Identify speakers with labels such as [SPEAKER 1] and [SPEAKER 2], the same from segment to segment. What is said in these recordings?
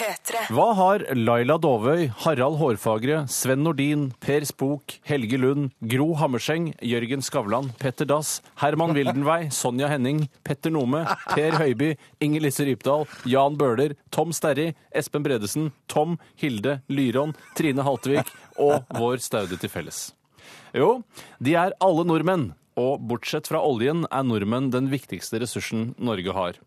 [SPEAKER 1] P3.
[SPEAKER 2] Hva har Laila Dovøy, Harald Hårfagre, Sven Nordin, Per Spok, Helge Lund, Gro Hammerseng, Jørgen Skavlan, Petter Dass, Herman Wildenvei, Sonja Henning, Petter Nome, Per Høiby, Inger Lisse Rypdal, Jan Bøhler, Tom Sterri, Espen Bredesen, Tom, Hilde Lyrån, Trine Haltevik og vår staude til felles? Jo, de er alle nordmenn, og bortsett fra oljen er nordmenn den viktigste ressursen Norge har.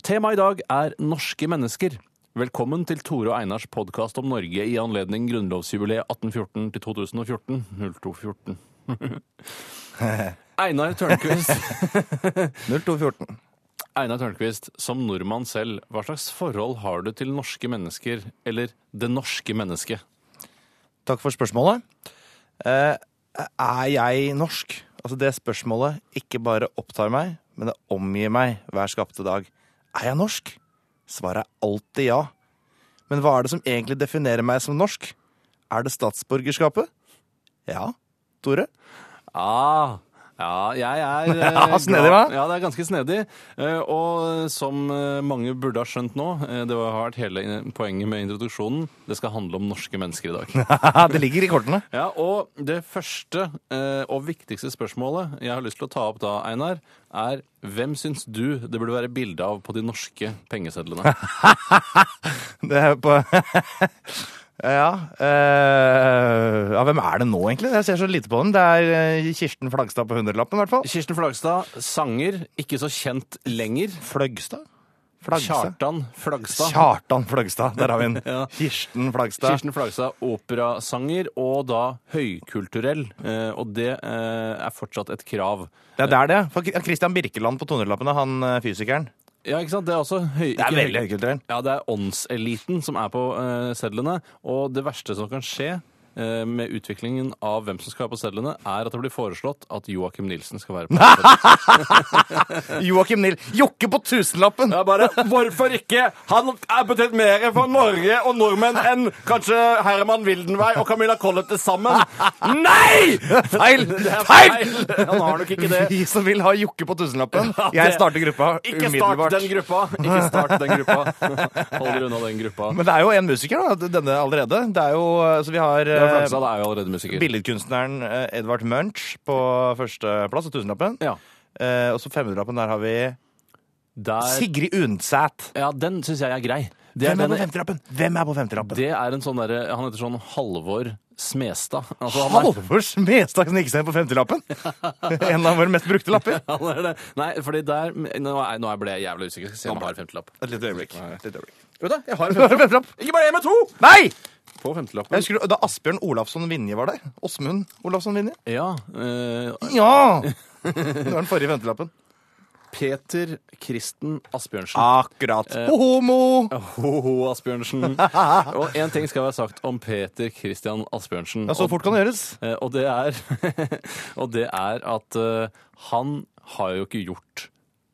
[SPEAKER 2] Temaet i dag er norske mennesker. Velkommen til Tore og Einars podkast om Norge i anledning grunnlovsjubileet 1814 til 2014. 0214. Einar Tørnquist,
[SPEAKER 3] 0214.
[SPEAKER 2] Einar Tørnquist, som nordmann selv, hva slags forhold har du til norske mennesker, eller det norske mennesket?
[SPEAKER 3] Takk for spørsmålet. Eh, er jeg norsk? Altså Det spørsmålet ikke bare opptar meg, men det omgir meg hver skapte dag. Er jeg norsk? Svaret er alltid ja. Men hva er det som egentlig definerer meg som norsk? Er det statsborgerskapet? Ja. Tore?
[SPEAKER 2] Ah, ja, jeg er eh,
[SPEAKER 3] Ja, snedig,
[SPEAKER 2] glad-
[SPEAKER 3] hva?
[SPEAKER 2] Ja, det er ganske snedig. Eh, Og som eh, mange burde ha skjønt nå, eh, det har vært hele in- poenget med introduksjonen, det skal handle om norske mennesker i dag.
[SPEAKER 3] det ligger i kortene.
[SPEAKER 2] Ja, Og det første eh, og viktigste spørsmålet jeg har lyst til å ta opp da, Einar, er hvem syns du det burde være bilde av på de norske pengesedlene?
[SPEAKER 3] Det er på Ja. eh, ja, hvem er det nå, egentlig? Jeg ser så lite på den. Det er eh, Kirsten Flagstad på hundrelappen, i hvert fall.
[SPEAKER 2] Kirsten Flagstad, sanger, ikke så kjent lenger.
[SPEAKER 3] Fløgstad? Flagstad?
[SPEAKER 2] Kjartan Flagstad.
[SPEAKER 3] Kjartan Flagstad, der har vi den.
[SPEAKER 2] Ja.
[SPEAKER 3] Kirsten Flagstad.
[SPEAKER 2] Kirsten Flagstad, operasanger og da høykulturell. eh, Og det eh, er fortsatt et krav.
[SPEAKER 3] Ja, det er det. For Christian Birkeland på tonerlappene, han eh, fysikeren.
[SPEAKER 2] Ja, ikke sant? Det er også høy...
[SPEAKER 3] Det er
[SPEAKER 2] ikke
[SPEAKER 3] veldig
[SPEAKER 2] høy-
[SPEAKER 3] høykulturell.
[SPEAKER 2] Ja, det er åndseliten som er på eh, sedlene. Og det verste som kan skje eh, med utviklingen av hvem som skal være på sedlene, er at det blir foreslått at Joakim Nilsen skal være på sedlene.
[SPEAKER 3] Joakim Niel. Jokke på tusenlappen!
[SPEAKER 2] Det er bare
[SPEAKER 4] Hvorfor ikke? Han er betydd mer for Norge og nordmenn enn kanskje Herman Wildenvey og Camilla Collett til sammen. Nei!
[SPEAKER 3] Feil!
[SPEAKER 2] det er
[SPEAKER 3] Feil!
[SPEAKER 2] Han har nok ikke det.
[SPEAKER 3] Vi som vil ha Jokke på tusenlappen.
[SPEAKER 2] Ja, det-
[SPEAKER 3] Jeg starter gruppa
[SPEAKER 2] Ikke start
[SPEAKER 3] umiddelbart.
[SPEAKER 2] den gruppa! Ikke start den gruppa. Hold dere unna den gruppa.
[SPEAKER 3] Men det er jo en musiker, da, denne allerede. Det er jo, altså Vi har
[SPEAKER 2] Ja,
[SPEAKER 3] eh,
[SPEAKER 2] Flagstad er jo allerede musiker.
[SPEAKER 3] billedkunstneren eh, Edvard Munch på førsteplass og tusenlappen.
[SPEAKER 2] Ja.
[SPEAKER 3] Eh, og så 500-lappen, der har vi
[SPEAKER 2] Der,
[SPEAKER 3] Sigrid Undset.
[SPEAKER 2] ja, den syns jeg er grei. Det er,
[SPEAKER 3] Hvem er på
[SPEAKER 2] den,
[SPEAKER 3] 50-lappen? Hvem er på 50-lappen?
[SPEAKER 2] det er en sånn derre Han heter sånn Halvor Smestad. Altså, han er-
[SPEAKER 3] Halvor Smestad sniker seg inn på 50-lappen! En av våre mest brukte lapper.
[SPEAKER 2] han er det. Nei, fordi der Nå, er- nå ble jeg jævlig usikker. Skal se om jeg har femtelapp.
[SPEAKER 3] Et lite øyeblikk. Et lite øyeblikk.
[SPEAKER 2] Vet du, jeg har en
[SPEAKER 3] Du har en
[SPEAKER 2] femtelapp.
[SPEAKER 3] 50-lapp.
[SPEAKER 2] Ikke bare én, men to!
[SPEAKER 3] Nei!
[SPEAKER 2] På
[SPEAKER 3] Jeg
[SPEAKER 2] femtelappen.
[SPEAKER 3] husker da Asbjørn Olafsson Vinje var der. Åsmund Olafsson Vinje.
[SPEAKER 2] Ja. eh,
[SPEAKER 3] Ja! Det var den forrige ventelappen.
[SPEAKER 2] Peter Kristen Asbjørnsen.
[SPEAKER 3] Akkurat. Homo!
[SPEAKER 2] Ho-ho, Asbjørnsen. Og én ting skal være sagt om Peter Christian Asbjørnsen.
[SPEAKER 3] Ja, så
[SPEAKER 2] Og-
[SPEAKER 3] fort kan det gjøres.
[SPEAKER 2] Eh, Og det er, og det er at eh, han har jo ikke gjort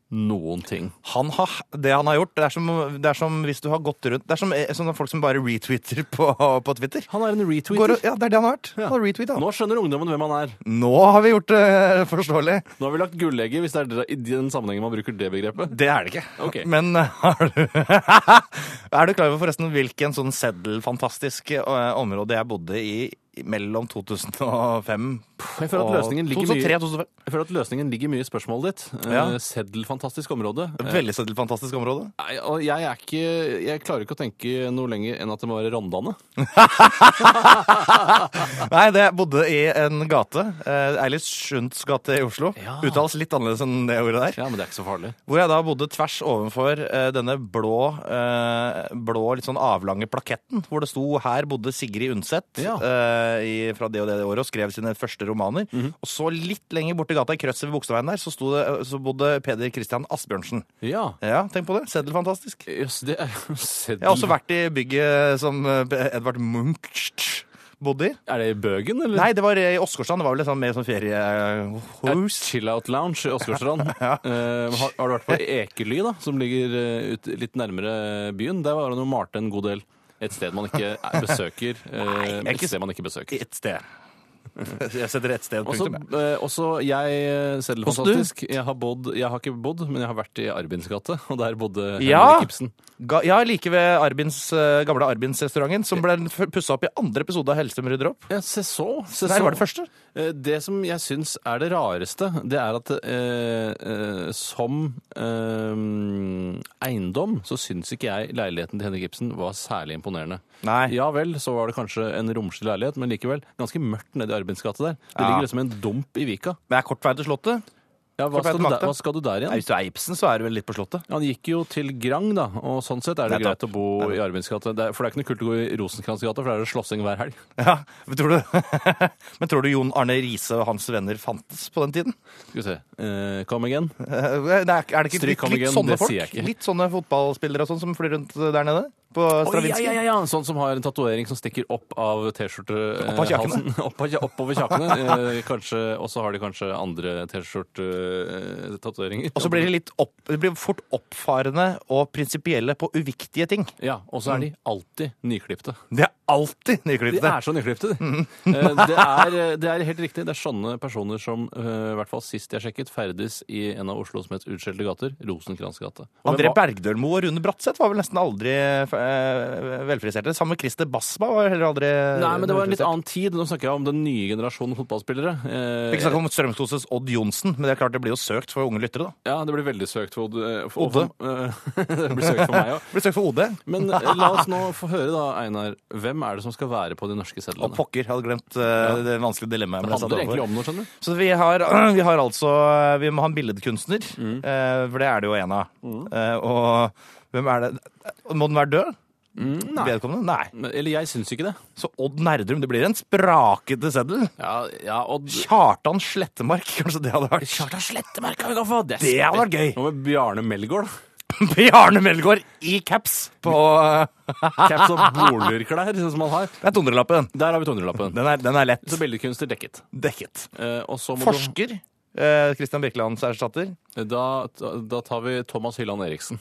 [SPEAKER 2] noen ting.
[SPEAKER 3] Han har, det han har gjort, det er, som, det er som hvis du har gått rundt Det er som eh, sånne folk som bare retweeter på, på Twitter.
[SPEAKER 2] Han er en
[SPEAKER 3] Går,
[SPEAKER 2] retweeter.
[SPEAKER 3] og- ja, det er det han har vært. Han har retweetet, han.
[SPEAKER 2] Nå skjønner ungdommen hvem han er.
[SPEAKER 3] Nå har vi gjort det forståelig.
[SPEAKER 2] Nå har vi lagt gullegget, hvis det er dra- i den sammenhengen man bruker det begrepet.
[SPEAKER 3] Det er det ikke.
[SPEAKER 2] Ok.
[SPEAKER 3] Men eh, har du Er du klar over forresten hvilken sånn seddelfantastisk eh, område jeg bodde i mellom 2005
[SPEAKER 2] Jeg føler at løsningen ligger mye,
[SPEAKER 3] 2003-2005?
[SPEAKER 2] jeg føler at løsningen ligger mye i spørsmålet ditt. Eh,
[SPEAKER 3] Ja.
[SPEAKER 2] Seddelfantastisk område. Eh,
[SPEAKER 3] Veldig seddelfantastisk område.
[SPEAKER 2] Nei, og jeg, er ikke, jeg klarer ikke å tenke noe lenger enn at det må være Rondane.
[SPEAKER 3] Nei, det jeg bodde i en gate. eh, Eilertsunds gate i Oslo.
[SPEAKER 2] Ja.
[SPEAKER 3] Uttales litt annerledes enn det ordet der.
[SPEAKER 2] Ja, men det er ikke så farlig.
[SPEAKER 3] Hvor jeg da bodde tvers ovenfor eh, denne blå, eh, blå, litt sånn avlange plaketten, hvor det sto 'Her bodde Sigrid Undset'
[SPEAKER 2] Ja.
[SPEAKER 3] eh, i, fra det og det året, og skrev sine første romaner. Og så litt lenger borti gata, i krøsset ved Bogstadveien der, så, sto det, eh, så bodde Peder Christian Asbjørnsen.
[SPEAKER 2] Ja.
[SPEAKER 3] Ja, tenk på det. Seddelfantastisk.
[SPEAKER 2] Jøss, det er jo
[SPEAKER 3] Jeg har også
[SPEAKER 2] seddel...
[SPEAKER 3] vært i bygget som eh, Edvard Munch bodde i.
[SPEAKER 2] Er det i Bøgen, eller?
[SPEAKER 3] Nei, det var i Åsgårdstrand. Det var vel liksom mer sånn
[SPEAKER 2] Det
[SPEAKER 3] feriehus.
[SPEAKER 2] er Chill Out Lounge i Åsgårdstrand. Eh, har, har du vært på Ekely, da, som ligger eh, ut, litt nærmere byen? Der var han jo malt en god del. Et sted man ikke eh, besøker. eh,
[SPEAKER 3] jeg er
[SPEAKER 2] et
[SPEAKER 3] ikke-
[SPEAKER 2] sted man ikke besøker.
[SPEAKER 3] Et sted. Jeg setter ett sted.
[SPEAKER 2] Også,
[SPEAKER 3] punktum, jeg.
[SPEAKER 2] eh, også jeg eh, Seddelfantastisk. Jeg har bodd Jeg har ikke bodd, men jeg har vært i Arbins gate, og der bodde Henrik
[SPEAKER 3] Ja!
[SPEAKER 2] Ibsen.
[SPEAKER 3] Ga, ja, like ved Arbins, eh, gamle Arbins-restauranten, som ble pussa opp i andre episode av Hellstrøm rydder opp.
[SPEAKER 2] Ja, se så. Se
[SPEAKER 3] Nei,
[SPEAKER 2] så.
[SPEAKER 3] var det første?
[SPEAKER 2] Eh, Det som jeg syns er det rareste, det er at eh, eh, som eh, eiendom så syns ikke jeg leiligheten til Henrik Ibsen var særlig imponerende.
[SPEAKER 3] Nei.
[SPEAKER 2] Ja vel, så var det kanskje en romslig leilighet, men likevel ganske mørkt nede i Arbins gate der. Det
[SPEAKER 3] Ja.
[SPEAKER 2] ligger liksom en dump i vika.
[SPEAKER 3] Men det er kort vei til Slottet.
[SPEAKER 2] Ja, hva,
[SPEAKER 3] Fortell
[SPEAKER 2] skal du der,
[SPEAKER 3] makta.
[SPEAKER 2] hva skal du der
[SPEAKER 3] Nei,
[SPEAKER 2] igjen?
[SPEAKER 3] hvis du er Ibsen, så er du vel litt på Slottet.
[SPEAKER 2] Han gikk jo til Grang, da, og sånn sett er det greit å
[SPEAKER 3] Nettopp.
[SPEAKER 2] bo i Arbins gate. Det er- For det er ikke noe kult å gå i Rosenkrantz gate, for der er det slåssing hver helg.
[SPEAKER 3] Ja, men tror du, men tror du Jon Arne Riise og hans venner fantes på den tiden?
[SPEAKER 2] Skal vi se. Eh, come again.
[SPEAKER 3] Eh, Nei, er det ikke
[SPEAKER 2] Stryk
[SPEAKER 3] litt,
[SPEAKER 2] ham
[SPEAKER 3] litt
[SPEAKER 2] igjen,
[SPEAKER 3] sånne
[SPEAKER 2] det
[SPEAKER 3] folk?
[SPEAKER 2] sier jeg ikke.
[SPEAKER 3] Litt sånne fotballspillere og sånn som flyr rundt der nede? På
[SPEAKER 2] Å, ja,
[SPEAKER 3] Stravinskij?
[SPEAKER 2] ja, ja, ja. Sånn som har en tatovering som stikker opp av
[SPEAKER 3] Opp av
[SPEAKER 2] T-skjortehalsen.
[SPEAKER 3] kjakene.
[SPEAKER 2] Opp av kja- Oppover kjakene. Eh, kanskje, og så har de kanskje andre eh, T-skjorte-tatoveringer.
[SPEAKER 3] Og så blir de litt opp, de blir fort oppfarende og prinsipielle på uviktige ting.
[SPEAKER 2] Ja, og så er de alltid nyklipte.
[SPEAKER 3] De er alltid
[SPEAKER 2] De
[SPEAKER 3] nyklipte. Mm.
[SPEAKER 2] er så nyklipte, de. Eh, Det er, det er helt riktig. Det er sånne personer som, eh, i hvert fall sist jeg sjekket, ferdes i en av Oslos mest utskjelte gater, Rosenkrantz gate. Og hvem
[SPEAKER 3] André
[SPEAKER 2] var-
[SPEAKER 3] Bergdølmo og Rune Bratseth var vel nesten aldri eh, velfriserte. Sammen med Christer Basma var heller aldri
[SPEAKER 2] Nei, men Eh, det var en litt annen tid. Nå snakker jeg om den nye generasjonen fotballspillere. Eh,
[SPEAKER 3] Ikke snakk om Strømskoses Odd Johnsen, men det er klart det blir jo søkt for unge lyttere, da.
[SPEAKER 2] Ja, det blir veldig søkt for Odde. For,
[SPEAKER 3] Odde.
[SPEAKER 2] eh, det blir søkt for meg òg.
[SPEAKER 3] Det blir søkt for OD.
[SPEAKER 2] Men eh, la oss nå få høre, da, Einar. Hvem er det som skal være på de norske
[SPEAKER 3] Og
[SPEAKER 2] sedlene?
[SPEAKER 3] pokker, jeg hadde glemt eh, det vanskelige dilemmaet.
[SPEAKER 2] Det
[SPEAKER 3] jeg ble satt
[SPEAKER 2] handler
[SPEAKER 3] overfor.
[SPEAKER 2] egentlig om noe, skjønner du.
[SPEAKER 3] Så vi har, vi har altså Vi må ha en billedkunstner,
[SPEAKER 2] Mm.
[SPEAKER 3] eh, for det er det jo en av. Eh, og hvem er det Må den være død? Vedkommende? Nei.
[SPEAKER 2] Men- Mm. Eller jeg syns ikke det.
[SPEAKER 3] Så Odd Nerdrum. Det blir en sprakete seddel.
[SPEAKER 2] Ja, ja Odd
[SPEAKER 3] Kjartan Slettemark, kanskje det hadde vært?
[SPEAKER 2] Kjartan Slettemark kan vi kan få! Det,
[SPEAKER 3] Det hadde vært gøy!
[SPEAKER 2] Nå med Bjarne Melgaard.
[SPEAKER 3] Bjarne Melgaard i caps på
[SPEAKER 2] Caps og bolurklær, sånn som han har.
[SPEAKER 3] Det er tondrelappen.
[SPEAKER 2] Der har vi 200-lappen.
[SPEAKER 3] Den er, den er lett
[SPEAKER 2] Så billedkunstner dekket.
[SPEAKER 3] dekket.
[SPEAKER 2] Eh, og så må du,
[SPEAKER 3] Forsker. Eh, Christian Birkelands erstatter.
[SPEAKER 2] da, da tar vi Thomas Hylland Eriksen.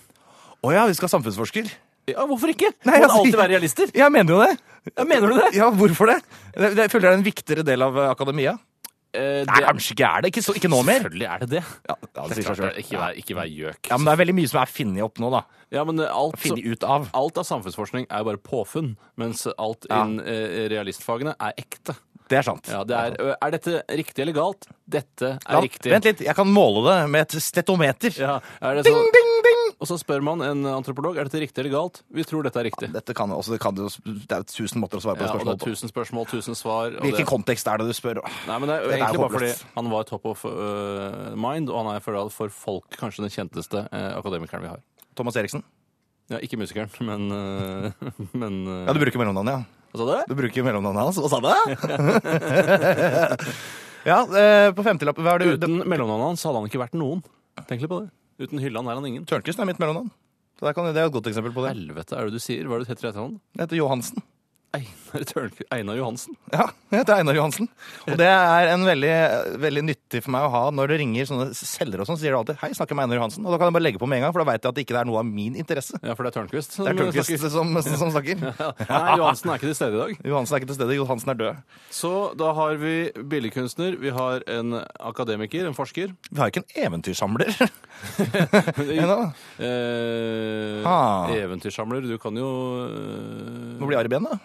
[SPEAKER 3] Å ja, vi skal ha samfunnsforsker.
[SPEAKER 2] Ja, hvorfor ikke?
[SPEAKER 3] Nei,
[SPEAKER 2] Må
[SPEAKER 3] altså-
[SPEAKER 2] alltid være realister.
[SPEAKER 3] Jeg mener jo det.
[SPEAKER 2] mener du det?
[SPEAKER 3] Ja, hvorfor det? Det, det jeg føler jeg er en viktigere del av eh, akademia.
[SPEAKER 2] Eh, det-
[SPEAKER 3] Nei, kanskje ikke er det. Ikke, så, ikke nå mer.
[SPEAKER 2] Selvfølgelig er det det.
[SPEAKER 3] Ja, ja, det
[SPEAKER 2] Det er
[SPEAKER 3] sier seg
[SPEAKER 2] klart, det.
[SPEAKER 3] selv.
[SPEAKER 2] Ikke vær- ikke vær gjøk.
[SPEAKER 3] Ja, men det er veldig mye som er funnet opp nå, da.
[SPEAKER 2] Ja, men eh, alt som-
[SPEAKER 3] Funnet ut av.
[SPEAKER 2] Alt av samfunnsforskning er jo bare påfunn, mens alt
[SPEAKER 3] Ja.
[SPEAKER 2] innen eh, realistfagene er ekte.
[SPEAKER 3] Det er sant.
[SPEAKER 2] Ja, det er, ø, er dette riktig eller galt? Dette er
[SPEAKER 3] Ja,
[SPEAKER 2] riktig.
[SPEAKER 3] Vent litt, jeg kan måle det med et stetometer.
[SPEAKER 2] Ja, er det så,
[SPEAKER 3] Ding, ding, ding!
[SPEAKER 2] og så spør man en antropolog er dette riktig eller galt. Vi tror dette er riktig.
[SPEAKER 3] Dette kan, jo også, det, kan jo, det er jo tusen måter å svare på
[SPEAKER 2] Ja, og det
[SPEAKER 3] spørsmål
[SPEAKER 2] er
[SPEAKER 3] på.
[SPEAKER 2] tusen spørsmål, tusen svar. Og
[SPEAKER 3] Hvilken
[SPEAKER 2] det,
[SPEAKER 3] kontekst er det du spør? Ah,
[SPEAKER 2] nei, men det er jo
[SPEAKER 3] Dette er
[SPEAKER 2] egentlig bare fordi
[SPEAKER 3] håpløst.
[SPEAKER 2] han var top of ø, mind, og han er for, for folk kanskje den kjenteste ø, akademikeren vi har.
[SPEAKER 3] Thomas Eriksen?
[SPEAKER 2] Ja, ikke musikeren, men, ø, men ø,
[SPEAKER 3] Ja, du bruker mellomnavnet, ja.
[SPEAKER 2] Hva sa du?
[SPEAKER 3] Du bruker mellomnavnet hans. Hva sa du? ja, eh, på femtelappen, hva er det?
[SPEAKER 2] Uten mellomnavnet hans hadde han ikke vært noen. Tenk litt på det. Uten Hylland er han ingen.
[SPEAKER 3] Tørnquist er mitt mellomnavn. Så der kan, det er et godt eksempel på det.
[SPEAKER 2] Helvete, er det du sier? Hva er det du heter etter han?
[SPEAKER 3] Jeg heter Johansen.
[SPEAKER 2] Einar, Tørnqu- Einar Johansen.
[SPEAKER 3] Ja, jeg heter Einar Johansen. Og det er en veldig, veldig nyttig for meg å ha når det ringer sånne selgere og sånn, sier du alltid 'hei, snakker med Einar Johansen'. Og da kan jeg bare legge på med en gang, for da veit jeg at det ikke er noe av min interesse.
[SPEAKER 2] Ja, for det er Tørnquist. som
[SPEAKER 3] Det er Tørnquist
[SPEAKER 2] snakker.
[SPEAKER 3] som, som snakker.
[SPEAKER 2] Nei, Johansen er ikke til stede i dag.
[SPEAKER 3] Johansen er ikke til stede, Johansen er død.
[SPEAKER 2] Så da har vi billedkunstner, vi har en akademiker, en forsker.
[SPEAKER 3] Vi har ikke en eventyrsamler.
[SPEAKER 2] Eh,
[SPEAKER 3] ennå. Ah.
[SPEAKER 2] Eventyrsamler. Du kan jo eh,
[SPEAKER 3] Nå blir Ari Behn, da.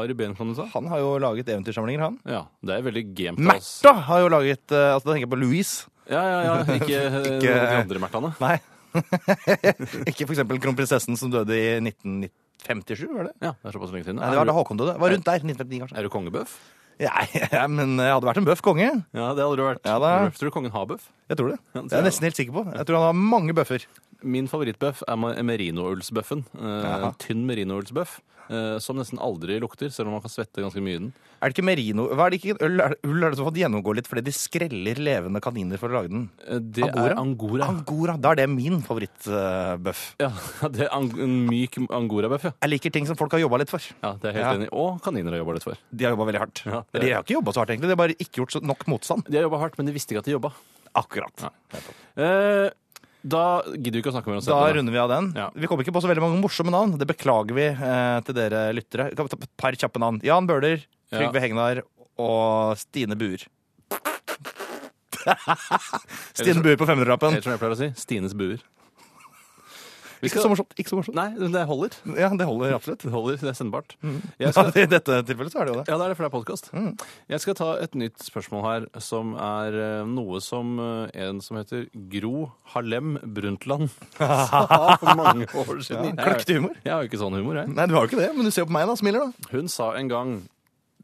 [SPEAKER 2] Ari Behn, kan du ta.
[SPEAKER 3] Han har jo laget eventyrsamlinger, han.
[SPEAKER 2] Ja, det er veldig gamet. altså.
[SPEAKER 3] Märtha har jo laget eh, Altså, da tenker jeg på Louise.
[SPEAKER 2] Ja, ja, ja. Ikke, eh,
[SPEAKER 3] Ikke-
[SPEAKER 2] de andre Märthane.
[SPEAKER 3] Nei. ikke for eksempel kronprinsessen som døde i 1957, var det?
[SPEAKER 2] Ja, det er såpass lenge siden.
[SPEAKER 3] Nei, det var
[SPEAKER 2] er,
[SPEAKER 3] da Håkon døde. Det var rundt der. 1959,
[SPEAKER 2] du,
[SPEAKER 3] kanskje.
[SPEAKER 2] er du kongebøff?
[SPEAKER 3] Nei, ja, men jeg hadde vært en bøff konge.
[SPEAKER 2] Ja, det hadde du vært.
[SPEAKER 3] Ja, da.
[SPEAKER 2] Tror du kongen har bøff?
[SPEAKER 3] Jeg tror det.
[SPEAKER 2] Ja, det
[SPEAKER 3] Jeg
[SPEAKER 2] tror
[SPEAKER 3] er
[SPEAKER 2] jeg.
[SPEAKER 3] nesten helt sikker på. Jeg tror han har mange bøffer.
[SPEAKER 2] Min favorittbøff er ma- merinoullsbøffen. Eh, tynn merinoullsbøff. Eh, som nesten aldri lukter, selv om man kan svette ganske mye i den.
[SPEAKER 3] Er det ikke merino Hva er det ikke ull? Er det, ull er det som har fått gjennomgå litt fordi de skreller levende kaniner for å lage den?
[SPEAKER 2] Eh, det
[SPEAKER 3] Angora?
[SPEAKER 2] er angora.
[SPEAKER 3] Angora. Da er det min favorittbøff.
[SPEAKER 2] ja, det er ang en myk angorabøff, ja.
[SPEAKER 3] Jeg liker ting som folk har jobba litt for.
[SPEAKER 2] ja. Det er jeg helt
[SPEAKER 3] Ja.
[SPEAKER 2] enig i. Og kaniner har jobba litt for.
[SPEAKER 3] De har jobba veldig hardt.
[SPEAKER 2] Ja, det er-
[SPEAKER 3] De har ikke jobba så hardt, egentlig. De har bare ikke gjort så nok motstand.
[SPEAKER 2] De har jobba hardt, men de visste ikke at de jobba.
[SPEAKER 3] Akkurat.
[SPEAKER 2] Eh, da gidder vi ikke å snakke mer om
[SPEAKER 3] Da
[SPEAKER 2] setene.
[SPEAKER 3] runder vi av den.
[SPEAKER 2] Ja.
[SPEAKER 3] Vi kom ikke på så veldig mange morsomme navn. Det beklager vi eh, til dere lyttere. Kan vi ta et par kjappe navn? Jan Bøhler, Trygve
[SPEAKER 2] Ja.
[SPEAKER 3] Hegnar og Stine Buer. Stine Buer på 500-lappen.
[SPEAKER 2] Helt som jeg pleier å si. Stines buer. Vi
[SPEAKER 3] Ikke så morsomt. Ikke så morsomt.
[SPEAKER 2] Nei, det holder.
[SPEAKER 3] Ja, det holder absolutt.
[SPEAKER 2] Det holder, det er sendbart. Jeg
[SPEAKER 3] Ja,
[SPEAKER 2] skal,
[SPEAKER 3] I dette tilfellet så er det jo det.
[SPEAKER 2] ja, det er det, for det er podkast.
[SPEAKER 3] Mm.
[SPEAKER 2] Jeg skal ta et nytt spørsmål her, som er eh, noe som eh, en som heter Gro Harlem Brundtland sa for mange år siden. Jeg er-
[SPEAKER 3] Kløktig humor.
[SPEAKER 2] Jeg har jo ikke sånn humor, jeg.
[SPEAKER 3] Nei, du har jo ikke det, men du ser jo på meg da, smiler da.
[SPEAKER 2] Hun sa en gang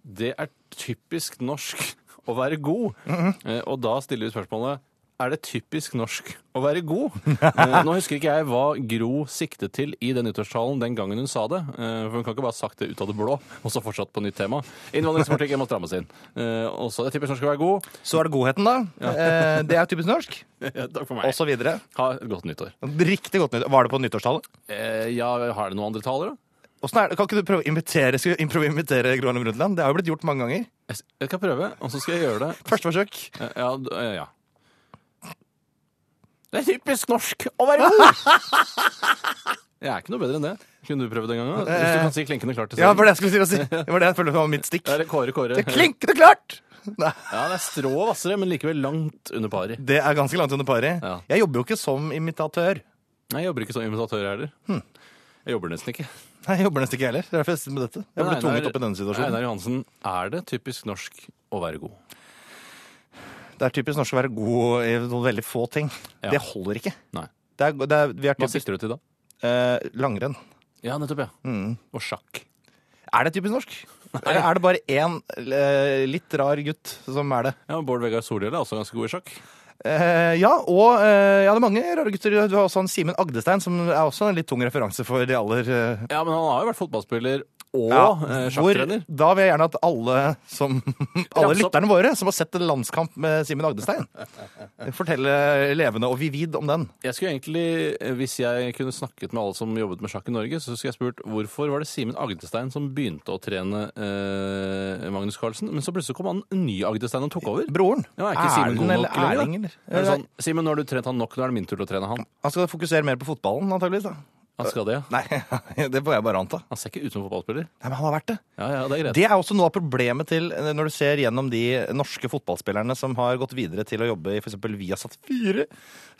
[SPEAKER 2] det er typisk norsk å være god. Eh, Og da stiller vi spørsmålet er det typisk norsk å være god? Eh, Nå husker ikke jeg hva Gro siktet til i den nyttårstalen den gangen hun sa det. eh, For hun kan ikke bare ha sagt det ut av det blå og så fortsatt på nytt tema. Innvandringspolitikken må strammes inn. Eh, Og så er det typisk norsk å være god.
[SPEAKER 3] Så er det godheten, da. Eh, det er typisk norsk.
[SPEAKER 2] Ja, Takk for meg.
[SPEAKER 3] Og så videre.
[SPEAKER 2] Ha et godt nyttår.
[SPEAKER 3] Riktig godt nytt. Var det på nyttårstallet?
[SPEAKER 2] Eh, Ja, har det noen andre taler, da?
[SPEAKER 3] Åssen er det? Kan ikke du prøve å invitere, skal vi prøve å invitere Gro Harlem Brundtland? Det har jo blitt gjort mange ganger.
[SPEAKER 2] Jeg s- Jeg skal prøve, og så skal jeg gjøre det
[SPEAKER 3] Første forsøk.
[SPEAKER 2] Eh, Ja, d- eh, ja. Det er typisk norsk å være god! Jeg er ikke noe bedre enn det. Kunne du prøvd en gang? da? Hvis du kan si klinkende klart til
[SPEAKER 3] Eh, Ja,
[SPEAKER 2] selv.
[SPEAKER 3] for det jeg skulle si å si. Det var det jeg følte var mitt stikk.
[SPEAKER 2] Det er Kåre, Kåre.
[SPEAKER 3] Det klinker det klart! Nei,
[SPEAKER 2] Ja, det er strå og vassere, men likevel langt under pari.
[SPEAKER 3] det er ganske langt under pari.
[SPEAKER 2] Ja.
[SPEAKER 3] Jeg jobber jo ikke som imitatør.
[SPEAKER 2] Nei, jeg jobber ikke som imitatør heller.
[SPEAKER 3] Hmm.
[SPEAKER 2] Jeg jobber nesten ikke.
[SPEAKER 3] Nei, jeg jobber nesten ikke heller. Det er derfor jeg sitter med dette. Jeg ble
[SPEAKER 2] Men Einar-
[SPEAKER 3] tvunget opp i denne situasjonen.
[SPEAKER 2] Einar Johansen, er det typisk norsk å være god?
[SPEAKER 3] Det er typisk norsk å være god i noen veldig få ting.
[SPEAKER 2] Ja.
[SPEAKER 3] Det holder ikke.
[SPEAKER 2] Nei.
[SPEAKER 3] Det er, det er, vi er
[SPEAKER 2] Hva
[SPEAKER 3] typisk
[SPEAKER 2] sikter du til da? Hmm.
[SPEAKER 3] eh, langrenn.
[SPEAKER 2] Ja, nettopp, ja. Og sjakk.
[SPEAKER 3] Er det typisk norsk? Eller er det bare én eh, litt rar gutt som er det?
[SPEAKER 2] Ja, men Bård Vegar Solhjell er også ganske god i sjakk.
[SPEAKER 3] Eh, ja, og eh, ja, det er mange rare gutter. Du har også han Simen Agdestein, som er også en litt tung referanse for de aller eh,
[SPEAKER 2] Ja, men han har jo vært fotballspiller og eh,
[SPEAKER 3] hvor,
[SPEAKER 2] sjakktrener.
[SPEAKER 3] Da vil jeg gjerne at alle, som, alle
[SPEAKER 2] Raps opp.
[SPEAKER 3] lytterne våre som har sett en landskamp med Simen Agdestein, fortelle levende og vivid om den.
[SPEAKER 2] Jeg skulle egentlig, eh, Hvis jeg kunne snakket med alle som jobbet med sjakk i Norge, så skulle jeg spurt hvorfor var det Simen Agdestein som begynte å trene eh, Magnus Carlsen, men så plutselig kom han en ny Agdestein og tok over.
[SPEAKER 3] Broren.
[SPEAKER 2] Ja, er ikke Simen god nok
[SPEAKER 3] eller Erling?
[SPEAKER 2] lenger? da?
[SPEAKER 3] eller?
[SPEAKER 2] Er det sånn, Simen, nå har du trent han nok, nå er det min tur til å trene han.
[SPEAKER 3] Han skal fokusere mer på fotballen, antageligvis. da.
[SPEAKER 2] Han skal det, ja.
[SPEAKER 3] Nei, det får jeg bare anta.
[SPEAKER 2] Han ser ikke ut som fotballspiller.
[SPEAKER 3] Nei, men han har vært det.
[SPEAKER 2] Ja, ja, det er greit.
[SPEAKER 3] Det er også noe av problemet til eh, når du ser gjennom de norske fotballspillerne som har gått videre til å jobbe i f.eks. Viasat 4,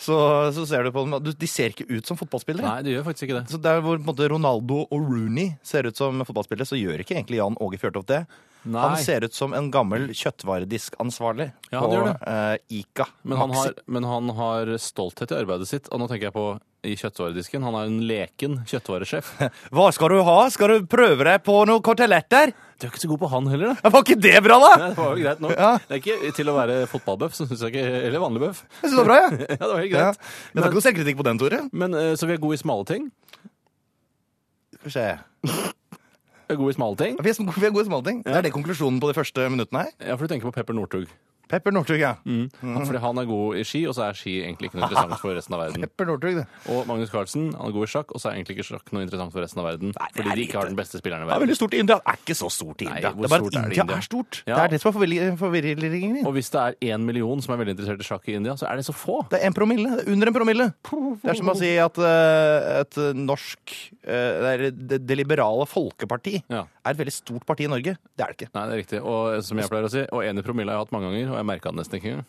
[SPEAKER 3] så, så ser du på dem at du- De ser ikke ut som fotballspillere.
[SPEAKER 2] Nei, det gjør faktisk ikke det.
[SPEAKER 3] Så der hvor på en måte, Ronaldo og Rooney ser ut som fotballspillere, så gjør ikke egentlig Jan Åge Fjørtoft det.
[SPEAKER 2] Nei.
[SPEAKER 3] Han ser ut som en gammel kjøttvarediskansvarlig
[SPEAKER 2] Ja, han
[SPEAKER 3] på
[SPEAKER 2] gjør
[SPEAKER 3] eh, Ica.
[SPEAKER 2] Men han,
[SPEAKER 3] Maxi.
[SPEAKER 2] har, men han har stolthet i arbeidet sitt. Og nå tenker jeg på i kjøttvaredisken. Han er en leken kjøttvaresjef.
[SPEAKER 3] Hva skal du ha? Skal du prøve deg på noen koteletter?
[SPEAKER 2] Du er ikke så god på han heller, da.
[SPEAKER 3] Ja, Var ikke det bra, da?
[SPEAKER 2] Nei, det var jo greit nok.
[SPEAKER 3] Ja.
[SPEAKER 2] Det er ikke til å være fotballbøff, så synes jeg ikke, eller vanlig bøff.
[SPEAKER 3] Jeg synes det var bra, jeg.
[SPEAKER 2] Ja, det var helt
[SPEAKER 3] Ja.
[SPEAKER 2] greit.
[SPEAKER 3] Jeg tar ikke noe selvkritikk på den, Tore.
[SPEAKER 2] Men, eh, så vi er gode i smale ting.
[SPEAKER 3] Skal vi se.
[SPEAKER 2] Vi er gode i smale ting.
[SPEAKER 3] Vi er sm- vi er gode i småting. Det er det konklusjonen på de første minuttene her.
[SPEAKER 2] Ja, for du tenker på Pepper Northug.
[SPEAKER 3] Pepper Northug, ja. Mhm.
[SPEAKER 2] Han- Fordi han er god i ski, og så er ski egentlig ikke noe interessant for resten av verden.
[SPEAKER 3] Pepper Northug, det.
[SPEAKER 2] Og Magnus Carlsen han er god i sjakk, og så er egentlig ikke sjakk noe interessant for resten av verden.
[SPEAKER 3] det
[SPEAKER 2] Fordi
[SPEAKER 3] er
[SPEAKER 2] de ikke har
[SPEAKER 3] lite.
[SPEAKER 2] den beste spilleren i
[SPEAKER 3] Det er
[SPEAKER 2] verden.
[SPEAKER 3] veldig stort i India. Det er ikke så stort i
[SPEAKER 2] Nei,
[SPEAKER 3] India.
[SPEAKER 2] hvor
[SPEAKER 3] det er bare
[SPEAKER 2] stort er det
[SPEAKER 3] at
[SPEAKER 2] i
[SPEAKER 3] India
[SPEAKER 2] India?
[SPEAKER 3] er stort.
[SPEAKER 2] Ja.
[SPEAKER 3] Det er det som er forvirring- forvirringen din.
[SPEAKER 2] Og hvis det er én million som er veldig interessert i sjakk i India, så er det så få.
[SPEAKER 3] Det er en promille. Det er Under en promille. Det er som å si at eh, et norsk eh, Det, er det, det liberale folkeparti
[SPEAKER 2] Ja.
[SPEAKER 3] er et veldig stort parti i Norge. Det er det ikke.
[SPEAKER 2] Nei, det er riktig. Og eh, som jeg pleier å si, og én i promille har jeg hatt mange ganger, og jeg merka den nesten ikke engang.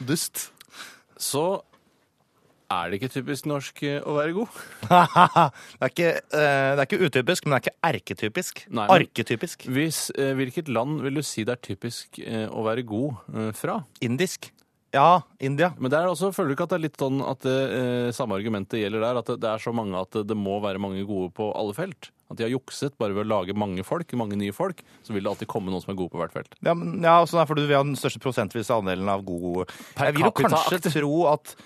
[SPEAKER 3] Dust.
[SPEAKER 2] Så er det ikke typisk norsk eh, å være god.
[SPEAKER 3] det, er ikke, eh, det er ikke utypisk, men det er ikke erketypisk.
[SPEAKER 2] Nei, men-
[SPEAKER 3] Arketypisk.
[SPEAKER 2] Hvis, eh, hvilket land vil du si det er typisk eh, å være god eh, fra?
[SPEAKER 3] Indisk. Ja, India.
[SPEAKER 2] Men der også føler du ikke at det er litt sånn at det eh, samme argumentet gjelder der? At det, det er så mange at det, det må være mange gode på alle felt? At de har jukset bare ved å lage mange folk, mange nye folk, så vil det alltid komme noen som er gode på hvert felt.
[SPEAKER 3] Ja, men, ja sånn er fordi vi har den største prosentvise andelen av god
[SPEAKER 2] Per
[SPEAKER 3] Jeg vil jo
[SPEAKER 2] capita.
[SPEAKER 3] kanskje tro at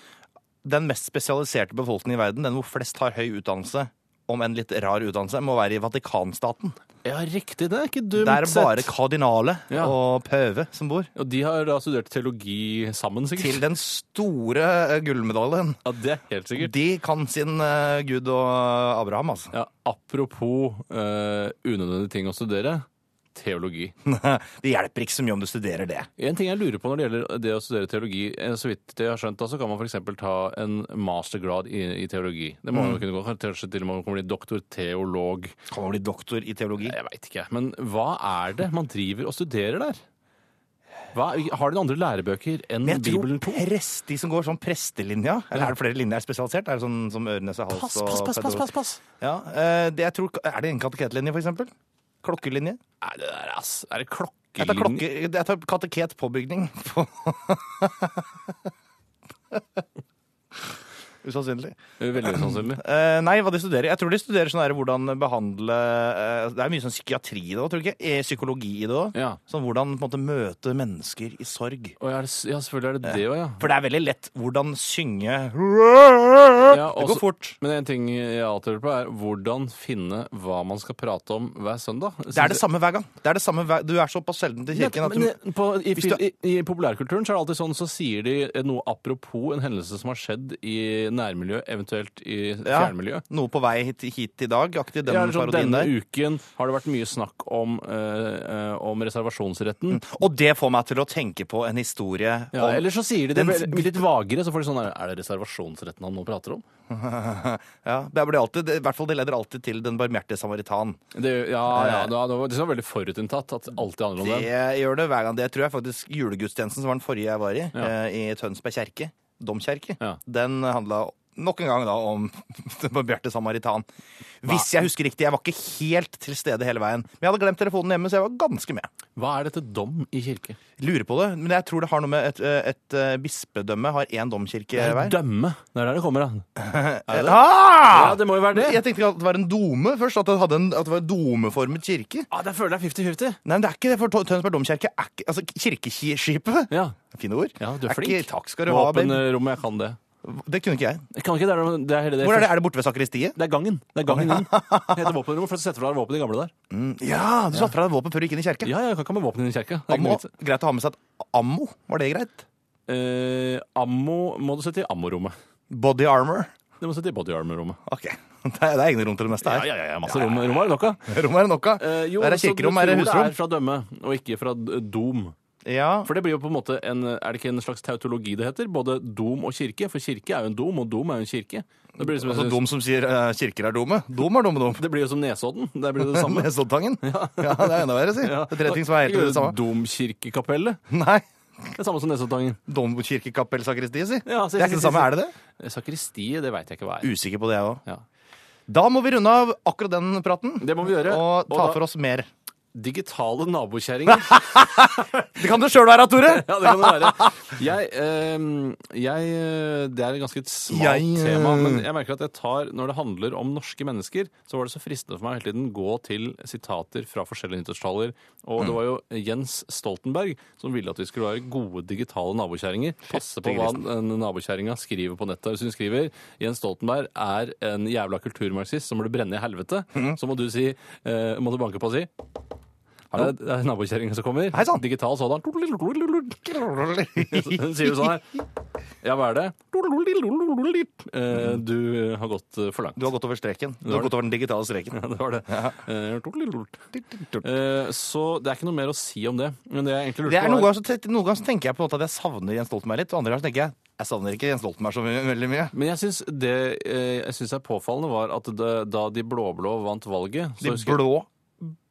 [SPEAKER 3] den mest spesialiserte befolkningen i verden, den hvor flest har høy utdannelse, om en litt rar utdannelse, må være i Vatikanstaten.
[SPEAKER 2] Ja, riktig, det er ikke dumt
[SPEAKER 3] Der er det bare
[SPEAKER 2] sett.
[SPEAKER 3] kardinale
[SPEAKER 2] Ja.
[SPEAKER 3] og pøve som bor.
[SPEAKER 2] Og de har da studert teologi sammen,
[SPEAKER 3] Til
[SPEAKER 2] sikkert?
[SPEAKER 3] den store eh, gullmedaljen.
[SPEAKER 2] Ja, det er helt sikkert.
[SPEAKER 3] De kan sin eh, Gud og Abraham, altså.
[SPEAKER 2] Ja, apropos eh, unødvendige ting å studere. teologi.
[SPEAKER 3] Det hjelper ikke så mye om du studerer det.
[SPEAKER 2] En ting jeg lurer på når det gjelder det å studere teologi, eh, så vidt jeg har skjønt, da, så kan man f.eks. ta en mastergrad i, i teologi. Det må man jo kunne gå, kanskje til og med man kan bli doktorteolog.
[SPEAKER 3] Kan man bli doktor i teologi?
[SPEAKER 2] Jeg veit ikke. Men hva er det man driver og studerer der? Hva, har de noen andre lærebøker enn
[SPEAKER 3] Men jeg tror
[SPEAKER 2] Bibelen 2?
[SPEAKER 3] prest, de som går sånn prestelinja Eller er det flere linjer spesialisert? Er det sånn som Ørenes og Hals
[SPEAKER 2] Pass,
[SPEAKER 3] og
[SPEAKER 2] pass, pass, pass,
[SPEAKER 3] pedagog-
[SPEAKER 2] pass, pass.
[SPEAKER 3] Ja, eh, det jeg tror, Er det en kateketlinje, for eksempel? Klokkelinje?
[SPEAKER 2] Nei, det der, ass. Er det
[SPEAKER 3] Jeg tar,
[SPEAKER 2] klokkelinje?
[SPEAKER 3] klokke, jeg tar kateketpåbygning på Usannsynlig.
[SPEAKER 2] Veldig sannsynlig.
[SPEAKER 3] Eh, nei, hva de studerer. Jeg tror de studerer sånn der, hvordan behandle eh, Det er mye sånn psykiatri i det òg, tror du ikke? Eh, Psykologi i det òg.
[SPEAKER 2] Ja.
[SPEAKER 3] Sånn hvordan på en måte møte mennesker i sorg.
[SPEAKER 2] Å, ja, er det s- ja, selvfølgelig er det det òg, ja.
[SPEAKER 3] For det er veldig lett hvordan synge
[SPEAKER 2] Ja,
[SPEAKER 3] Det
[SPEAKER 2] også-
[SPEAKER 3] går fort.
[SPEAKER 2] Men en ting jeg alltid lurer på, er hvordan finne hva man skal prate om hver søndag.
[SPEAKER 3] Det er det samme hver gang. Det er det samme hver, du er såpass sjelden til kirken at du
[SPEAKER 2] Men, eh, på, i,
[SPEAKER 3] Hvis du-
[SPEAKER 2] i, I populærkulturen så er det alltid sånn så sier de noe apropos en hendelse som har skjedd i nærmiljøet, eventuelt i
[SPEAKER 3] Ja.
[SPEAKER 2] fjernmiljøet.
[SPEAKER 3] Noe på vei hit, hit i dag, aktig den
[SPEAKER 2] Ja, eller sånn,
[SPEAKER 3] parodien
[SPEAKER 2] denne
[SPEAKER 3] der.
[SPEAKER 2] uken har det vært mye snakk om, eh, eh, om reservasjonsretten.
[SPEAKER 3] Og det får meg til å tenke på en historie
[SPEAKER 2] Ja,
[SPEAKER 3] Mm. om
[SPEAKER 2] eller så sier de det
[SPEAKER 3] Den-
[SPEAKER 2] vel- litt vagere, så får de sånn Er det reservasjonsretten han nå prater om?
[SPEAKER 3] ja, det blir alltid, det, I hvert fall det leder alltid til den barmhjertige samaritan.
[SPEAKER 2] Det, ja, ja, det var, det var- det var veldig forutinntatt at det alltid handler om
[SPEAKER 3] Det
[SPEAKER 2] den.
[SPEAKER 3] gjør det hver gang. Det tror jeg faktisk julegudstjenesten, som var den forrige jeg var i,
[SPEAKER 2] Ja.
[SPEAKER 3] eh, i Tønsberg kjerke, domkirke,
[SPEAKER 2] Ja.
[SPEAKER 3] den handla nok en gang da om den barmhjerte samaritan. Hvis jeg husker riktig, jeg var ikke helt til stede hele veien. Men jeg hadde glemt telefonen hjemme, så jeg var ganske med.
[SPEAKER 2] Hva er dette dom i kirke?
[SPEAKER 3] Lurer på det, men jeg tror det har noe med et, eh, et eh, bispedømme har én domkirke hver.
[SPEAKER 2] Dømme. Det er der det kommer, da.
[SPEAKER 3] Ah!
[SPEAKER 2] Ja, det må jo være det.
[SPEAKER 3] Jeg tenkte at det var en dome først, at det, hadde en, at det var en domeformet kirke.
[SPEAKER 2] Ja, jeg Ah, føler det er 50-50.
[SPEAKER 3] Nei, men det er ikke det, for Tø- Tønsberg domkirke er ikke Altså, kirkeskipet
[SPEAKER 2] Ja.
[SPEAKER 3] Fine ord.
[SPEAKER 2] ja, du er flink.
[SPEAKER 3] Ikke, takk skal du ha, babe.
[SPEAKER 2] Våpenrommet, jeg kan det.
[SPEAKER 3] Det kunne ikke jeg.
[SPEAKER 2] Jeg kan ikke, det er, det er hele det.
[SPEAKER 3] Hvor er det? Er det borte ved sakristiet?
[SPEAKER 2] Det er gangen. Det er gangen inn. Det heter våpenrommet, for å sette fra deg våpen i gamle der.
[SPEAKER 3] Mm, Ja, du satte fra deg våpen før du gikk inn i kjerka.
[SPEAKER 2] Ja, ja, jeg kan ikke ha med våpen inn i kirka. Det er ikke
[SPEAKER 3] Ammo,
[SPEAKER 2] noe vits.
[SPEAKER 3] greit å ha med seg et ammo. Var det greit?
[SPEAKER 2] Eh, ammo må du sette i ammorommet.
[SPEAKER 3] Body armor.
[SPEAKER 2] Det må du sette i body armor-rommet.
[SPEAKER 3] Ok. Det er, det er egne rom til det meste her.
[SPEAKER 2] ja, masse rom, rom er det nok av.
[SPEAKER 3] Rom er det nok av.
[SPEAKER 2] Eh, jo,
[SPEAKER 3] Der er
[SPEAKER 2] så du
[SPEAKER 3] kirkerom, er det
[SPEAKER 2] tror Det
[SPEAKER 3] husrom?
[SPEAKER 2] er fra dømme, og ikke fra d- dom.
[SPEAKER 3] Ja.
[SPEAKER 2] For det blir jo på en måte en Er det ikke en slags tautologi det heter? Både dom og kirke? For kirke er jo en dom, og dom er jo en kirke. Det blir, liksom,
[SPEAKER 3] Altså dum som sier eh, kirker er dumme. Dum er dumme dum.
[SPEAKER 2] det blir jo som Nesodden. Der blir det det samme.
[SPEAKER 3] Nesoddtangen. Ja. det er enda verre, si.
[SPEAKER 2] Ja.
[SPEAKER 3] Det er tre ting som er helt
[SPEAKER 2] Ikke
[SPEAKER 3] det samme.
[SPEAKER 2] Domkirkekapellet.
[SPEAKER 3] Nei.
[SPEAKER 2] Det er samme som Nesoddtangen.
[SPEAKER 3] Domkirkekappell sakristiet, si.
[SPEAKER 2] Ja, si,
[SPEAKER 3] det er ikke
[SPEAKER 2] si,
[SPEAKER 3] det samme,
[SPEAKER 2] si.
[SPEAKER 3] er det det?
[SPEAKER 2] Sakristiet, det veit jeg ikke hva er.
[SPEAKER 3] Usikker på det, jeg òg.
[SPEAKER 2] Ja.
[SPEAKER 3] Da må vi runde av akkurat den praten.
[SPEAKER 2] Det må vi gjøre.
[SPEAKER 3] Og ta
[SPEAKER 2] Og da-
[SPEAKER 3] for oss mer.
[SPEAKER 2] Digitale nabokjerringer.
[SPEAKER 3] Det kan du sjøl være, Tore!
[SPEAKER 2] Ja, det kan det være. Jeg, ehm, jeg eh, Det er et ganske smalt
[SPEAKER 3] Jeg, eh,
[SPEAKER 2] tema, men jeg merker at jeg tar Når det handler om norske mennesker, så var det så fristende for meg å hele tiden gå til sitater fra forskjellige nyttårstaler. Og det var jo Jens Stoltenberg som ville at vi skulle være gode digitale nabokjerringer. Passe på hva en nabokjerringa skriver på nettet. Hvis hun skriver Jens Stoltenberg er en jævla kulturmarxist som burde brenne i helvete,
[SPEAKER 3] Mhm.
[SPEAKER 2] så må du si eh, Må du banke på og si Hallo? Det er nabokjerringa som kommer.
[SPEAKER 3] Hei sann.
[SPEAKER 2] Digital sådan. Hun sier jo sånn her. Ja, hva er det? Eh, Du har gått eh, for langt.
[SPEAKER 3] Du har gått over streken. Du har gått over den digitale streken.
[SPEAKER 2] Ja, det var det. Eh, Så det er ikke noe mer å si om det. Men det jeg egentlig
[SPEAKER 3] Det
[SPEAKER 2] lurte
[SPEAKER 3] er
[SPEAKER 2] på
[SPEAKER 3] noen
[SPEAKER 2] var-
[SPEAKER 3] ganger så te- noen ganger så tenker jeg på en måte at jeg savner Jens Stoltenberg litt, og andre ganger så tenker jeg jeg savner ikke Jens Stoltenberg så ve- veldig mye.
[SPEAKER 2] men jeg syns det eh, jeg synes er påfallende, var at det, da de blå-blå vant valget så
[SPEAKER 3] De
[SPEAKER 2] husker jeg-
[SPEAKER 3] blå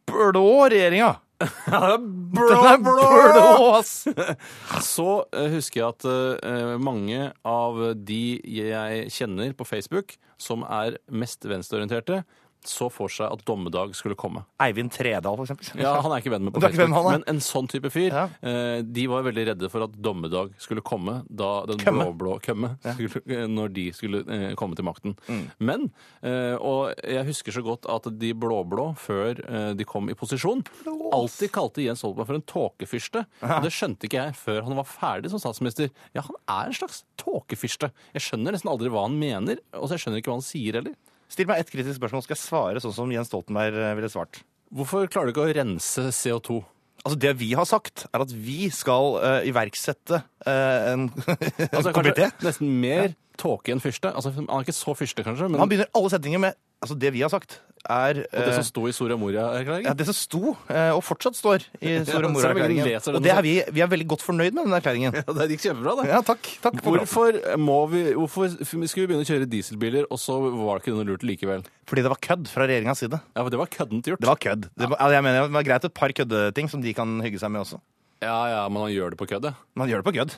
[SPEAKER 3] blå regjeringa!
[SPEAKER 2] Blå,
[SPEAKER 3] Den er blå, ass!
[SPEAKER 2] Så eh, husker jeg at eh, mange av de jeg kjenner på Facebook, som er mest venstreorienterte, så for seg at dommedag skulle komme.
[SPEAKER 3] Eivind Tredal, for eksempel.
[SPEAKER 2] Ja, Han er ikke venn med på
[SPEAKER 3] Du er
[SPEAKER 2] Facebook,
[SPEAKER 3] ikke venn med han, nei.
[SPEAKER 2] men en sånn type fyr.
[SPEAKER 3] Ja.
[SPEAKER 2] eh, de var veldig redde for at dommedag skulle komme da den
[SPEAKER 3] Kømme.
[SPEAKER 2] blå-blå kømme skulle, eh, når de skulle eh, komme til makten.
[SPEAKER 3] Mm.
[SPEAKER 2] Men eh, Og jeg husker så godt at de blå-blå, før eh, de kom i posisjon, alltid kalte Jens Stoltenberg for en tåkefyrste. Og det skjønte ikke jeg før han var ferdig som statsminister. Ja, han er en slags tåkefyrste. Jeg skjønner nesten aldri hva han mener, og så jeg skjønner ikke hva han sier heller.
[SPEAKER 3] Still meg ett kritisk spørsmål, skal jeg svare sånn som Jens Stoltenberg eh, ville svart.
[SPEAKER 2] Hvorfor klarer du ikke å rense CO2?
[SPEAKER 3] Altså Det vi har sagt, er at vi skal eh, iverksette eh, en, en
[SPEAKER 2] Altså,
[SPEAKER 3] komité.
[SPEAKER 2] kanskje nesten mer tåke enn fyrste. Altså, han er ikke så fyrste, kanskje, men
[SPEAKER 3] Han begynner alle setninger med Altså, det vi har sagt, er
[SPEAKER 2] Og det
[SPEAKER 3] eh,
[SPEAKER 2] som sto i Soria
[SPEAKER 3] ja,
[SPEAKER 2] Moria-erklæringen?
[SPEAKER 3] det som sto, eh, og fortsatt står, i Soria
[SPEAKER 2] så er det ingen leser
[SPEAKER 3] Moria-erklæringen.
[SPEAKER 2] den
[SPEAKER 3] Og det er vi, vi er veldig godt fornøyd med den erklæringen.
[SPEAKER 2] Ja, det gikk kjempebra, det.
[SPEAKER 3] Ja, takk. takk for praten.
[SPEAKER 2] Hvorfor, må vi, hvorfor skulle vi begynne å kjøre dieselbiler, og så var det ikke noe lurt likevel?
[SPEAKER 3] Fordi det var kødd fra regjeringas side.
[SPEAKER 2] Ja, for Det var køddent gjort.
[SPEAKER 3] Det var kødd. Det, var- altså, jeg mener, det var greit et par køddeting som de kan hygge seg med også.
[SPEAKER 2] Ja, ja, Men han gjør det på køddet.
[SPEAKER 3] Man gjør det på kødd.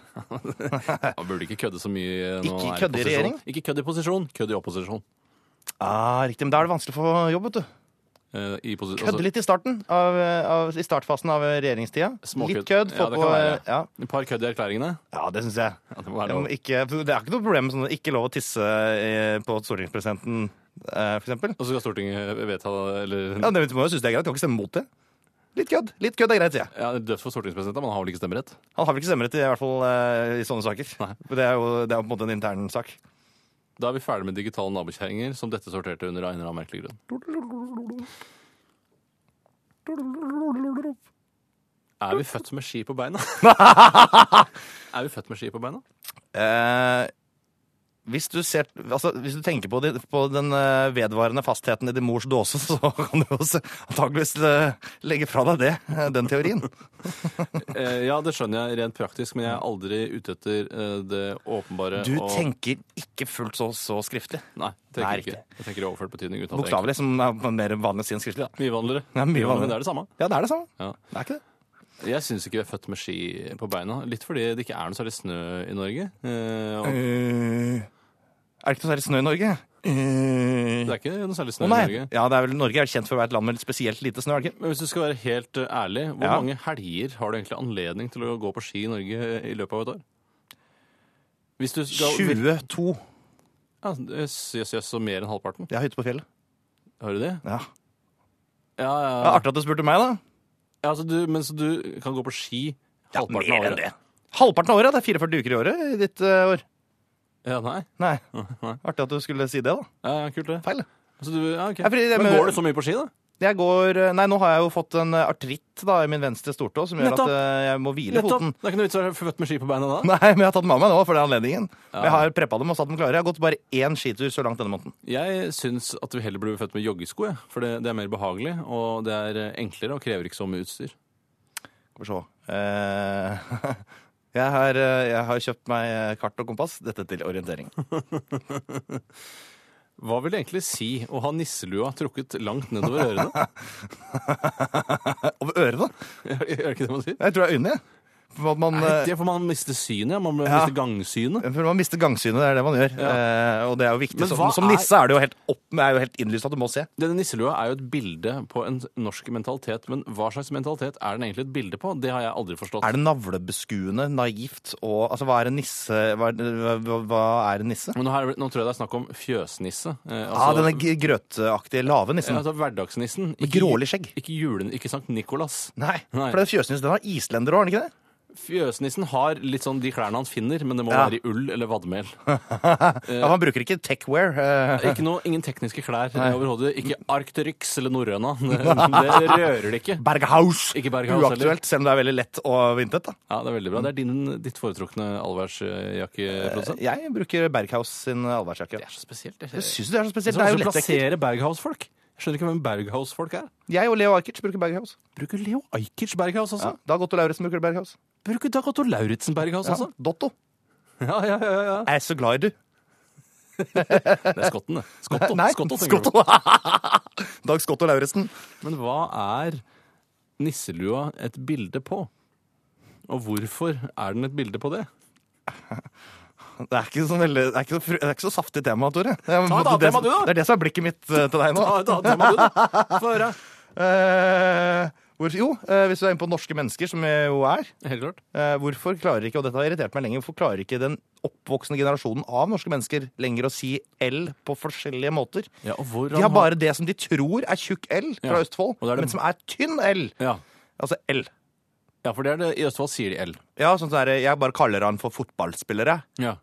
[SPEAKER 2] Han burde ikke kødde så mye. når han er
[SPEAKER 3] Ikke kødde i
[SPEAKER 2] posisjon.
[SPEAKER 3] regjering?
[SPEAKER 2] Ikke kødd i posisjon, kødd i opposisjon.
[SPEAKER 3] Ah, riktig, men Da er det vanskelig å få jobb. vet du.
[SPEAKER 2] Eh, i posi
[SPEAKER 3] Kødde litt i starten av, av, i startfasen av regjeringstida.
[SPEAKER 2] Småkødd.
[SPEAKER 3] Litt kødd.
[SPEAKER 2] Ja,
[SPEAKER 3] Få
[SPEAKER 2] det
[SPEAKER 3] på,
[SPEAKER 2] kan være.
[SPEAKER 3] ja.
[SPEAKER 2] Altså, et par kødd i erklæringene.
[SPEAKER 3] ja, det syns jeg.
[SPEAKER 2] Ja, det må være
[SPEAKER 3] Jeg
[SPEAKER 2] lov.
[SPEAKER 3] må ikke, det er ikke noe problem med sånn ikke lov å tisse eh, på stortingspresidenten, eh, for eksempel.
[SPEAKER 2] Og så skal Stortinget vedta eller
[SPEAKER 3] Ja, det må jo synes det er greit. Kan ikke stemme mot det. Litt kødd. Litt kødd er greit, sier jeg.
[SPEAKER 2] Ja, Dødt for stortingspresidenten, men han har vel ikke stemmerett?
[SPEAKER 3] Han har vel ikke stemmerett i, i hvert fall eh, i sånne saker.
[SPEAKER 2] Nei.
[SPEAKER 3] Det er, jo, det er jo på en måte en intern sak.
[SPEAKER 2] Da er vi ferdig med digitale nabokjerringer, som dette sorterte under av en eller annen merkelig grunn. Er vi født med ski på beina? er vi født med ski på beina?
[SPEAKER 3] Eh, hvis, du ser, altså, hvis du tenker på, det, på den eh, vedvarende fastheten i din mors dåse, så kan du også antakeligvis eh, legge fra deg det, eh, den teorien.
[SPEAKER 2] Eh, ja, det skjønner jeg rent praktisk, men jeg er aldri ute etter eh, det åpenbare.
[SPEAKER 3] Du
[SPEAKER 2] og-
[SPEAKER 3] tenker ikke fullt så, så skriftlig.
[SPEAKER 2] Nei, tenker
[SPEAKER 3] Nei,
[SPEAKER 2] ikke. Jeg tenker i overført betydning. uten at jeg-
[SPEAKER 3] Bokstavelig, som er på en mer vanlig sin skriftlig. Da.
[SPEAKER 2] Mye vanligere.
[SPEAKER 3] Ja, mye vanligere.
[SPEAKER 2] Men det er det samme.
[SPEAKER 3] Ja, det er det samme.
[SPEAKER 2] Ja.
[SPEAKER 3] Det er ikke det.
[SPEAKER 2] Jeg syns ikke vi er født med ski på beina. Litt fordi det ikke er noe særlig snø i Norge. Eh, og
[SPEAKER 3] Eh, er det ikke noe særlig snø i Norge?
[SPEAKER 2] det
[SPEAKER 3] Eh,
[SPEAKER 2] er ikke noe særlig
[SPEAKER 3] Å
[SPEAKER 2] snø
[SPEAKER 3] nei.
[SPEAKER 2] i Norge.
[SPEAKER 3] Ja, det er vel, Norge er kjent for å være et land med litt spesielt lite snø, er det ikke?
[SPEAKER 2] Men hvis du skal være helt eh, ærlig, hvor
[SPEAKER 3] Ja.
[SPEAKER 2] mange helger har du egentlig anledning til å gå på ski i Norge eh, i løpet av et år? Hvis du skal
[SPEAKER 3] 22.
[SPEAKER 2] Ja, Jøss, jøss, jøss, så mer enn halvparten.
[SPEAKER 3] Det er hytte på fjellet.
[SPEAKER 2] Hører du det?
[SPEAKER 3] Ja.
[SPEAKER 2] Ja, ja.
[SPEAKER 3] Det er artig at du spurte meg, da.
[SPEAKER 2] ja altså, du, men så du kan gå på ski halvparten av året?
[SPEAKER 3] Halvparten av året? Det er 44 uker i året i ditt eh, år.
[SPEAKER 2] Ja, nei?
[SPEAKER 3] Nei.
[SPEAKER 2] Nei.
[SPEAKER 3] Artig at du skulle si det, da.
[SPEAKER 2] Ja, ja, kult det.
[SPEAKER 3] Feil.
[SPEAKER 2] Altså, du, ja, ok.
[SPEAKER 3] Ja, fordi det
[SPEAKER 2] men
[SPEAKER 3] med-
[SPEAKER 2] går du så mye på ski, da?
[SPEAKER 3] Jeg går eh, Nei, nå har jeg jo fått en eh, artritt da, i min venstre stortå som gjør
[SPEAKER 2] Nettopp.
[SPEAKER 3] at eh, jeg må hvile
[SPEAKER 2] Nettopp!
[SPEAKER 3] foten.
[SPEAKER 2] Det er ikke noe vits i å være født med ski på beina da?
[SPEAKER 3] Nei, men jeg har tatt den med meg nå for den anledningen. Jeg har preppa dem og satt dem klare. Jeg har gått bare én skitur så langt denne måneden.
[SPEAKER 2] Jeg syns at vi heller burde bli født med joggesko, jeg. for det, det er mer behagelig, og det er eh, enklere og krever ikke så mye utstyr.
[SPEAKER 3] Skal vi se. Eh, jeg, har, eh, jeg har kjøpt meg eh, kart og kompass. Dette til orientering.
[SPEAKER 2] Hva vil det egentlig si å ha nisselua trukket langt nedover ørene?
[SPEAKER 3] Over ørene?
[SPEAKER 2] Er det ikke det man sier?
[SPEAKER 3] Jeg tror det er øynene. jeg. For at man,
[SPEAKER 2] Nei,
[SPEAKER 3] eh,
[SPEAKER 2] det er for man mister synet, ja. man
[SPEAKER 3] Ja.
[SPEAKER 2] mister gangsynet.
[SPEAKER 3] Jeg føler man mister gangsynet, det er det man gjør. Eh, og det er jo viktig.
[SPEAKER 2] Men
[SPEAKER 3] Som,
[SPEAKER 2] hva
[SPEAKER 3] som
[SPEAKER 2] er-
[SPEAKER 3] nisse er det jo helt, opp, er jo helt innlyst at du må se.
[SPEAKER 2] Denne nisselua er jo et bilde på en norsk mentalitet, men hva slags mentalitet er den egentlig et bilde på? Det har jeg aldri forstått.
[SPEAKER 3] Er det navlebeskuende, naivt og Altså, hva er en nisse? Hva, er- hva, hva er en nisse?
[SPEAKER 2] Men nå, her, nå tror jeg det er snakk om fjøsnisse. Eh,
[SPEAKER 3] Ah,
[SPEAKER 2] altså,
[SPEAKER 3] denne g- grøteaktige, lave nissen.
[SPEAKER 2] ja, altså hverdagsnissen.
[SPEAKER 3] Med grålig skjegg.
[SPEAKER 2] Ikke julen, ikke Sankt Nikolas.
[SPEAKER 3] Nei,
[SPEAKER 2] Nei.
[SPEAKER 3] for den fjøsnissen den har islender òg, har den ikke det?
[SPEAKER 2] Fjøsnissen har litt sånn de klærne han finner, men det må
[SPEAKER 3] Ja.
[SPEAKER 2] være i ull eller vadmel.
[SPEAKER 3] Ja, Man bruker ikke techwear. eh.
[SPEAKER 2] Eh. Ikke noe, ingen tekniske klær overhodet. Ikke Arcterix eller norrøna. Det, det rører det ikke.
[SPEAKER 3] Berghaus!
[SPEAKER 2] Ikke Berghaus heller.
[SPEAKER 3] Uaktuelt, selv om det er veldig lett og vintet. da.
[SPEAKER 2] Ja, Det er veldig bra. Det er din, ditt foretrukne allværsjakkeprodusent.
[SPEAKER 3] Jeg bruker Berghaus sin allværsjakke.
[SPEAKER 2] Eh, Det er så spesielt. Det
[SPEAKER 3] Jeg syns det er så spesielt.
[SPEAKER 2] Som
[SPEAKER 3] Det er
[SPEAKER 2] også
[SPEAKER 3] jo lettdekket.
[SPEAKER 2] plasserer Berghaus-folk. Jeg skjønner ikke hvem Berghaus-folk er.
[SPEAKER 3] Jeg og Leo Ajkic bruker Berghaus.
[SPEAKER 2] Bruker Leo Ajkic Berghaus også?
[SPEAKER 3] Ja. Dag Otto Lauritzen bruker Berghaus.
[SPEAKER 2] Bruker Dag Otto Lauritzen Berghaus
[SPEAKER 3] Ja.
[SPEAKER 2] også?
[SPEAKER 3] Dotto.
[SPEAKER 2] Ja, ja, ja, ja.
[SPEAKER 3] Altså? Jeg er så glad i du.
[SPEAKER 2] Det er skotten, det. Skotto.
[SPEAKER 3] Nei,
[SPEAKER 2] Skotto, tenker du på.
[SPEAKER 3] Skotto. Dag Skotto Lauritzen.
[SPEAKER 2] Men hva er nisselua et bilde på? Og hvorfor er den et bilde på det?
[SPEAKER 3] Det er ikke så, veldig, det er ikke så, fru- det er ikke så saftig tema, Tore. Ta
[SPEAKER 2] et annet tema, du, da.
[SPEAKER 3] Det er det som er blikket mitt eh, til deg nå.
[SPEAKER 2] Ta et annet tema, du, Ah, da. Få høre.
[SPEAKER 3] Eh, hvor, jo, eh, hvis du er inne på norske mennesker, som jeg jo er
[SPEAKER 2] Helt klart.
[SPEAKER 3] eh, Hvorfor klarer ikke, og dette har irritert meg lenge, hvorfor klarer ikke den oppvoksende generasjonen av norske mennesker lenger å si L på forskjellige måter?
[SPEAKER 2] Ja, og hvordan
[SPEAKER 3] De har bare det som de tror er tjukk L fra
[SPEAKER 2] Ja.
[SPEAKER 3] Østfold,
[SPEAKER 2] Og det er det-
[SPEAKER 3] men som er tynn L.
[SPEAKER 2] ja.
[SPEAKER 3] Altså L.
[SPEAKER 2] ja, for det er det. I Østfold sier de L.
[SPEAKER 3] Ja, sånn som det er, Jeg bare kaller han for fotballspillere.
[SPEAKER 2] Ja.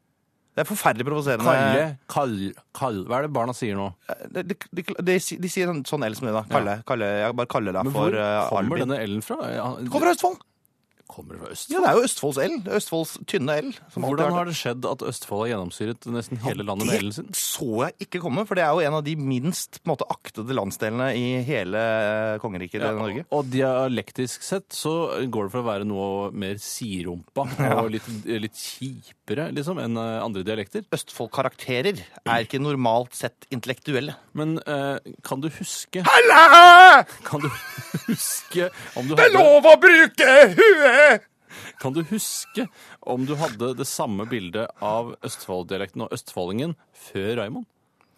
[SPEAKER 3] Det er forferdelig provoserende. Eh,
[SPEAKER 2] Kalle, kall, kall. Hva er det barna sier nå?
[SPEAKER 3] de, de, de, de, si- de sier sånn, sånn L som det, da. Kalle, kalle, jeg bare kaller deg
[SPEAKER 2] Men
[SPEAKER 3] for
[SPEAKER 2] hvor
[SPEAKER 3] eh,
[SPEAKER 2] kommer
[SPEAKER 3] Albin.
[SPEAKER 2] denne L-en fra? Ja,
[SPEAKER 3] Kommer fra Østfold!
[SPEAKER 2] kommer fra Østfold.
[SPEAKER 3] Ja, det er jo Østfolds L. Østfolds tynne L. Som alltid
[SPEAKER 2] Hvordan
[SPEAKER 3] har
[SPEAKER 2] har det skjedd at Østfold har gjennomsyret nesten hele landet med L-en sin?
[SPEAKER 3] Det så jeg ikke komme, for det er jo en av de minst på en måte, aktede landsdelene i hele eh, kongeriket
[SPEAKER 2] Ja,
[SPEAKER 3] Norge.
[SPEAKER 2] Og dialektisk sett så går det for å være noe mer sirumpa og litt, litt kjipere liksom, enn eh, andre dialekter.
[SPEAKER 3] Østfold-karakterer er ikke normalt sett intellektuelle.
[SPEAKER 2] Men eh, kan du huske
[SPEAKER 3] Hallo!
[SPEAKER 2] Kan du huske om du
[SPEAKER 3] Det er
[SPEAKER 2] hadde,
[SPEAKER 3] lov å bruke huet!
[SPEAKER 2] kan du huske om du hadde det samme bildet av Østfold-dialekten og østfoldingen før Raymond?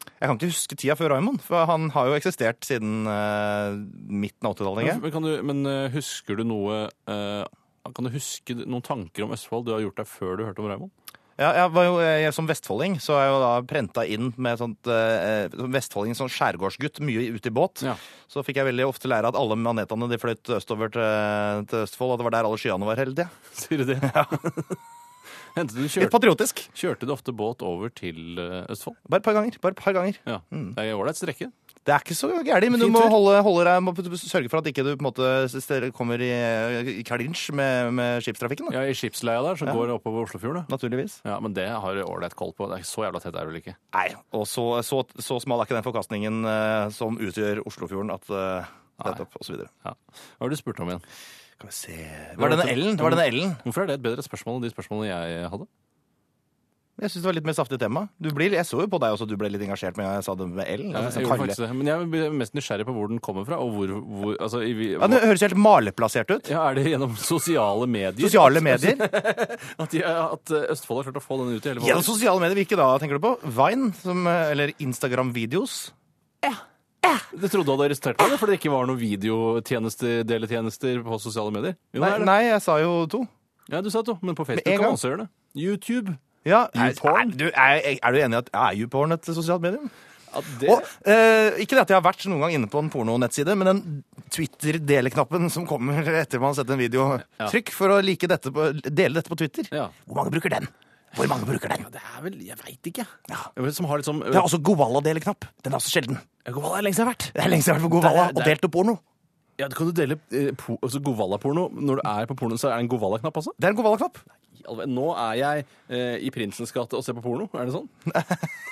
[SPEAKER 3] Jeg kan ikke huske tida før Raymond, for han har jo eksistert siden eh, midten av 80-tallet. ikke?
[SPEAKER 2] Men, kan du, men eh, husker du noe eh, Kan du huske noen tanker om Østfold du har gjort deg før du hørte om Raymond?
[SPEAKER 3] Ja, jeg var jo, jeg, som vestfolding så er jeg jo da prenta inn med sånt eh, som vestfolding, sånn skjærgårdsgutt, mye ut i båt.
[SPEAKER 2] Ja.
[SPEAKER 3] Så fikk jeg veldig ofte lære at alle manetene de fløyt østover til, til Østfold, og det var der alle skyene var hele tida.
[SPEAKER 2] Sier du det? Hentet du
[SPEAKER 3] Litt
[SPEAKER 2] kjørte,
[SPEAKER 3] patriotisk.
[SPEAKER 2] kjørte du ofte båt over til eh, Østfold?
[SPEAKER 3] Bare et par ganger. bare et par ganger.
[SPEAKER 2] Ja.
[SPEAKER 3] Mm.
[SPEAKER 2] Det er ålreit strekke.
[SPEAKER 3] Det er ikke så gærent, men du
[SPEAKER 2] Fin
[SPEAKER 3] må
[SPEAKER 2] tur.
[SPEAKER 3] holde, holde deg, må sørge for at ikke du på en måte s- dere kommer i, i klinsj med, med skipstrafikken. Da.
[SPEAKER 2] Ja, I skipsleia der, som går oppover Oslofjorden. da.
[SPEAKER 3] Naturligvis.
[SPEAKER 2] Ja, men det har jeg ålreit koll på. Det er ikke så jævla tett er det vel ikke?
[SPEAKER 3] Nei, og så, så, så smal er ikke den forkastningen eh, som utgjør Oslofjorden at eh, nettopp, og så videre.
[SPEAKER 2] Ja. Hva var det du spurte om igjen?
[SPEAKER 3] Kan vi se Var denne L-en? Var denne L-en?
[SPEAKER 2] Hvorfor er det et bedre spørsmål enn de spørsmålene jeg hadde?
[SPEAKER 3] Jeg syns det var litt mer saftig tema. Du blir, jeg så jo på deg også, du ble litt engasjert med jeg sa det med L.
[SPEAKER 2] Jeg
[SPEAKER 3] Altså,
[SPEAKER 2] gjorde
[SPEAKER 3] Kalle.
[SPEAKER 2] faktisk det, men jeg blir mest nysgjerrig på hvor den kommer fra. og hvor, hvor altså, i, vi-
[SPEAKER 3] ja, det høres helt maleplassert ut.
[SPEAKER 2] ja, Er det gjennom sosiale medier?
[SPEAKER 3] Sosiale medier.
[SPEAKER 2] At, de, at eh, Østfold har klart å få den ut i hele
[SPEAKER 3] Gjennom sosiale medier, hvilke da tenker du på? Vine, som, eh, eller Instagram-videos?
[SPEAKER 2] Du trodde du hadde arrestert meg fordi det ikke var noen videodeletjenester på sosiale medier? Jo, det
[SPEAKER 3] Nei,
[SPEAKER 2] er det.
[SPEAKER 3] nei, jeg sa jo to.
[SPEAKER 2] Ja, du sa det, men på Facebook
[SPEAKER 3] Med en
[SPEAKER 2] kan
[SPEAKER 3] gang.
[SPEAKER 2] man også gjøre det. YouTube.
[SPEAKER 3] Ja, er,
[SPEAKER 2] YouPorn.
[SPEAKER 3] er, du, er, er du enig i at er YouPorn et sosialt medium?
[SPEAKER 2] At det,
[SPEAKER 3] Og, eh, ikke det at jeg har vært noen gang inne på en pornonettside, men den Twitter-deleknappen som kommer etter man har sett en video.
[SPEAKER 2] Ja.
[SPEAKER 3] Trykk for å like dette på, dele dette på Twitter.
[SPEAKER 2] Ja.
[SPEAKER 3] Hvor mange bruker den? Hvor mange bruker den?
[SPEAKER 2] det er vel Jeg veit ikke.
[SPEAKER 3] Ja.
[SPEAKER 2] Som har liksom
[SPEAKER 3] Det er også Govala-deleknapp. Den er også sjelden.
[SPEAKER 2] Govala er lengst jeg har vært.
[SPEAKER 3] Det er lengst jeg har vært på Govala
[SPEAKER 2] Der,
[SPEAKER 3] og
[SPEAKER 2] der.
[SPEAKER 3] delt opp porno.
[SPEAKER 2] Ja, du kan jo dele eh, po altså Govala-porno. Når du er på porno, så er det en Govala-knapp også?
[SPEAKER 3] Det er en Govala-knapp.
[SPEAKER 2] I all verden, Nå er jeg eh, i Prinsens gate og ser på porno. Er det sånn?
[SPEAKER 3] Ja,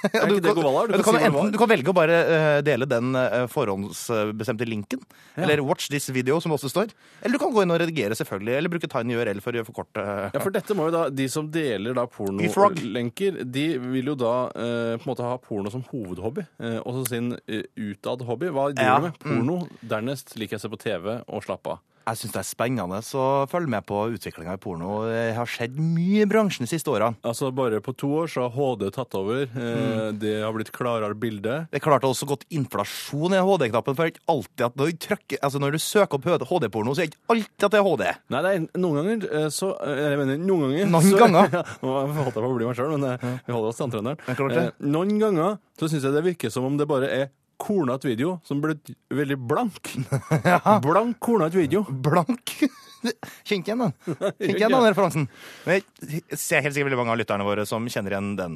[SPEAKER 2] ikke det Govala? Du
[SPEAKER 3] Du, ja,
[SPEAKER 2] kan
[SPEAKER 3] du, kan
[SPEAKER 2] si hva det
[SPEAKER 3] enten, du kan velge å bare eh, dele den eh, forhåndsbestemte linken, eller watch this video, som det også står. Eller du kan gå inn og redigere, selvfølgelig, eller bruke tiny URL for eh, å forkorte
[SPEAKER 2] Ja, for dette må jo da, De som deler da
[SPEAKER 3] Frog.
[SPEAKER 2] pornolenker, de vil jo da eh, på en måte ha porno som hovedhobby. Eh, og så sin eh, utad hobby. Hva driver
[SPEAKER 3] Ja, Mm.
[SPEAKER 2] du med? Porno. Dernest liker jeg å se på TV og slappe av.
[SPEAKER 3] Jeg syns det er spennende å følge med på utviklinga i porno. Det har skjedd mye i bransjen de siste åra.
[SPEAKER 2] Altså Bare på to år så har HD tatt over. Eh,
[SPEAKER 3] Mm.
[SPEAKER 2] Det har blitt klarere bilde.
[SPEAKER 3] Det er klart det har også gått inflasjon i HD-knappen. for det er ikke alltid at Når du, trykker, altså når du søker opp HD-porno, så er det ikke alltid at det er HD.
[SPEAKER 2] Nei, det er, noen ganger eh, så eh, Jeg mener, noen ganger
[SPEAKER 3] Noen
[SPEAKER 2] så,
[SPEAKER 3] ganger.
[SPEAKER 2] Ja, Nå holdt jeg på å bli meg sjøl, men eh, vi holder oss til
[SPEAKER 3] er klart
[SPEAKER 2] antrenneren.
[SPEAKER 3] det.
[SPEAKER 2] Eh, noen ganger så syns jeg det virker som om det bare er kornete video som blir veldig blank. Blank, kornete video.
[SPEAKER 3] Blank. Kjente igjen den Kjente igjen den referansen. Men jeg ser helt sikkert veldig mange av lytterne våre som kjenner igjen den.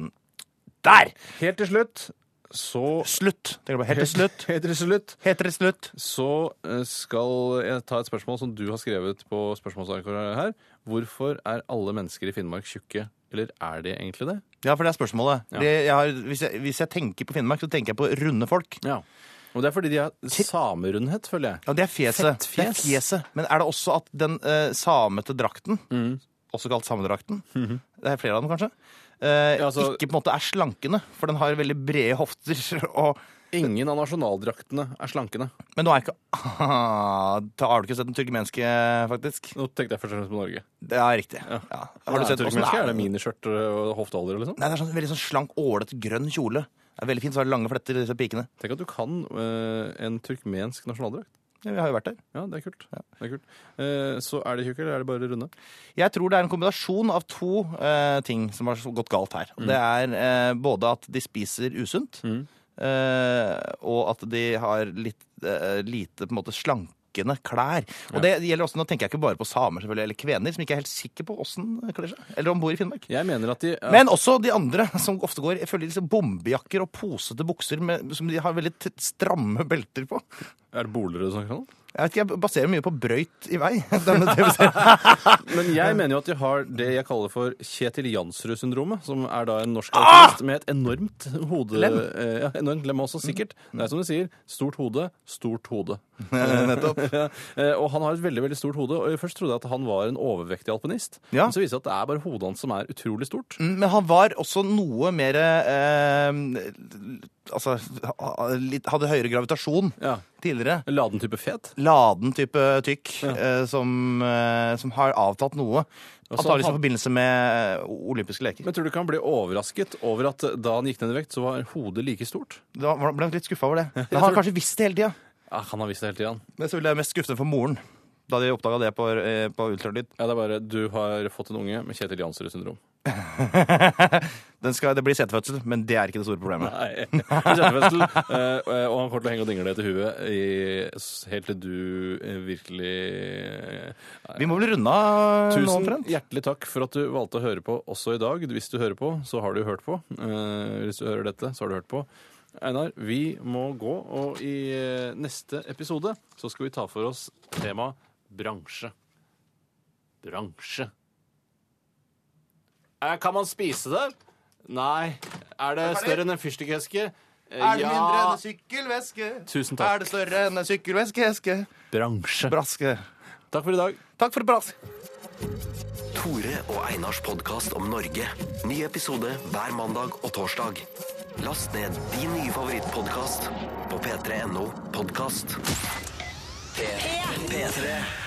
[SPEAKER 3] Der!
[SPEAKER 2] Helt til slutt så
[SPEAKER 3] Slutt. Tenker du på helt til slutt.
[SPEAKER 2] Helt til slutt
[SPEAKER 3] Helt til slutt.
[SPEAKER 2] så eh, skal jeg ta et spørsmål som du har skrevet på spørsmålsarkoret her. Hvorfor er alle mennesker i Finnmark tjukke? Eller er de egentlig det?
[SPEAKER 3] Ja, for det er spørsmålet.
[SPEAKER 2] Ja.
[SPEAKER 3] Det, jeg har, hvis, jeg, hvis jeg tenker på Finnmark, så tenker jeg på runde folk.
[SPEAKER 2] Ja. Og det er fordi de har samerundhet, føler jeg.
[SPEAKER 3] Ja, det er fjeset.
[SPEAKER 2] Fettfjes.
[SPEAKER 3] Det er fjeset. Men er det også at den eh, samete drakten, også kalt samedrakten, det er flere av dem kanskje, eh,
[SPEAKER 2] Ja, altså-
[SPEAKER 3] ikke på en måte er slankende, for den har veldig brede hofter. Og,
[SPEAKER 2] Ingen av nasjonaldraktene er slankende.
[SPEAKER 3] men nå er ikke ah, da Har du ikke sett den turkmenske, faktisk?
[SPEAKER 2] Nå tenkte jeg først og fremst på Norge.
[SPEAKER 3] Det er riktig. Ja. Har du sett hvordan
[SPEAKER 2] turkmenneske? Er det
[SPEAKER 3] den?
[SPEAKER 2] miniskjørt og hofteholder, liksom?
[SPEAKER 3] Nei, det er sånn veldig sånn slank, ålete, grønn kjole. Det er veldig fint, så har det lange fletter i disse pikene.
[SPEAKER 2] Tenk at du kan eh, en turkmensk nasjonaldrakt.
[SPEAKER 3] Ja, vi har jo vært der.
[SPEAKER 2] Ja, det er kult. Det er kult. Eh, så er de tjukke, eller er de bare runde?
[SPEAKER 3] Jeg tror det er en kombinasjon av to eh, ting som har gått galt her. Og Det er eh, både at de spiser usunt, eh, og at de har litt eh, lite på en måte slankende klær. Og det gjelder også, Nå tenker jeg ikke bare på samer selvfølgelig, eller kvener, som ikke er helt sikker på åssen de kler seg. Eller om bor i Finnmark.
[SPEAKER 2] Jeg mener at de ja,
[SPEAKER 3] Men også de andre, som ofte går jeg føler disse bombejakker og posete bukser med, som de har veldig t- stramme belter på.
[SPEAKER 2] Er det Bolerud du snakker om?
[SPEAKER 3] Jeg vet ikke, jeg baserer mye på brøyt i vei. Denne TV-serien.
[SPEAKER 2] Men jeg mener jo at de har det jeg kaller for Kjetil Jansrud-syndromet, som er da en norsk
[SPEAKER 3] Ah!
[SPEAKER 2] alkoholist med et enormt hode... Lem. Ja, enormt lem også, sikkert. Det er som du sier, stort hode, stort hode.
[SPEAKER 3] Nettopp.
[SPEAKER 2] Ja, eh, og han har et veldig veldig stort hode. og jeg Først trodde jeg at han var en overvektig alpinist.
[SPEAKER 3] Ja.
[SPEAKER 2] Men så viser det seg at det er bare hodet hans som er utrolig stort.
[SPEAKER 3] Men han var også noe mer eh, Altså ha- litt, hadde høyere gravitasjon
[SPEAKER 2] Ja.
[SPEAKER 3] tidligere.
[SPEAKER 2] Laden type fet.
[SPEAKER 3] Laden type tykk eh, som, eh, som har avtatt noe.
[SPEAKER 2] så
[SPEAKER 3] Antakeligvis i
[SPEAKER 2] han-
[SPEAKER 3] forbindelse med eh, olympiske leker.
[SPEAKER 2] Men tror du ikke han ble overrasket over at eh, da han gikk ned i vekt, så var hodet like stort?
[SPEAKER 3] Da var- ble han litt skuffa over det. Men han har kanskje visst det hele tida.
[SPEAKER 2] Ja, Ah, han har visst det hele tiden.
[SPEAKER 3] Men selvfølgelig er jeg mest skuffende for moren. Da de oppdaga det på, eh, på ultralyd.
[SPEAKER 2] Ja, det er bare du har fått en unge med Kjetil Jansrud syndrom.
[SPEAKER 3] Den skal, det blir setefødsel, men det er ikke det store problemet.
[SPEAKER 2] Nei. Kjøttfestel. eh, og han kommer til å henge og dingle deg til huet i, helt til du eh, virkelig eh,
[SPEAKER 3] Vi må vel runde av nå,
[SPEAKER 2] Tusen
[SPEAKER 3] omtrent?
[SPEAKER 2] hjertelig takk for at du valgte å høre på også i dag. Hvis du hører på, så har du hørt på. Eh, hvis du hører dette, så har du hørt på. Einar, vi må gå, og i eh, neste episode så skal vi ta for oss temaet bransje. Bransje. Eh, kan man spise det? Nei. Er det større enn en fyrstikkeske? Eh,
[SPEAKER 3] Er det mindre enn
[SPEAKER 2] ja.
[SPEAKER 3] en sykkelveske?
[SPEAKER 2] Tusen
[SPEAKER 3] Er
[SPEAKER 2] takk.
[SPEAKER 3] det større enn en sykkelveske?
[SPEAKER 2] Bransje.
[SPEAKER 3] Braske.
[SPEAKER 2] Takk for i dag.
[SPEAKER 3] Takk for brask.
[SPEAKER 1] Tore og Einars podkast om Norge. Ny episode hver mandag og torsdag. Last ned din nye favorittpodkast på p3.no podkast. P3. P3.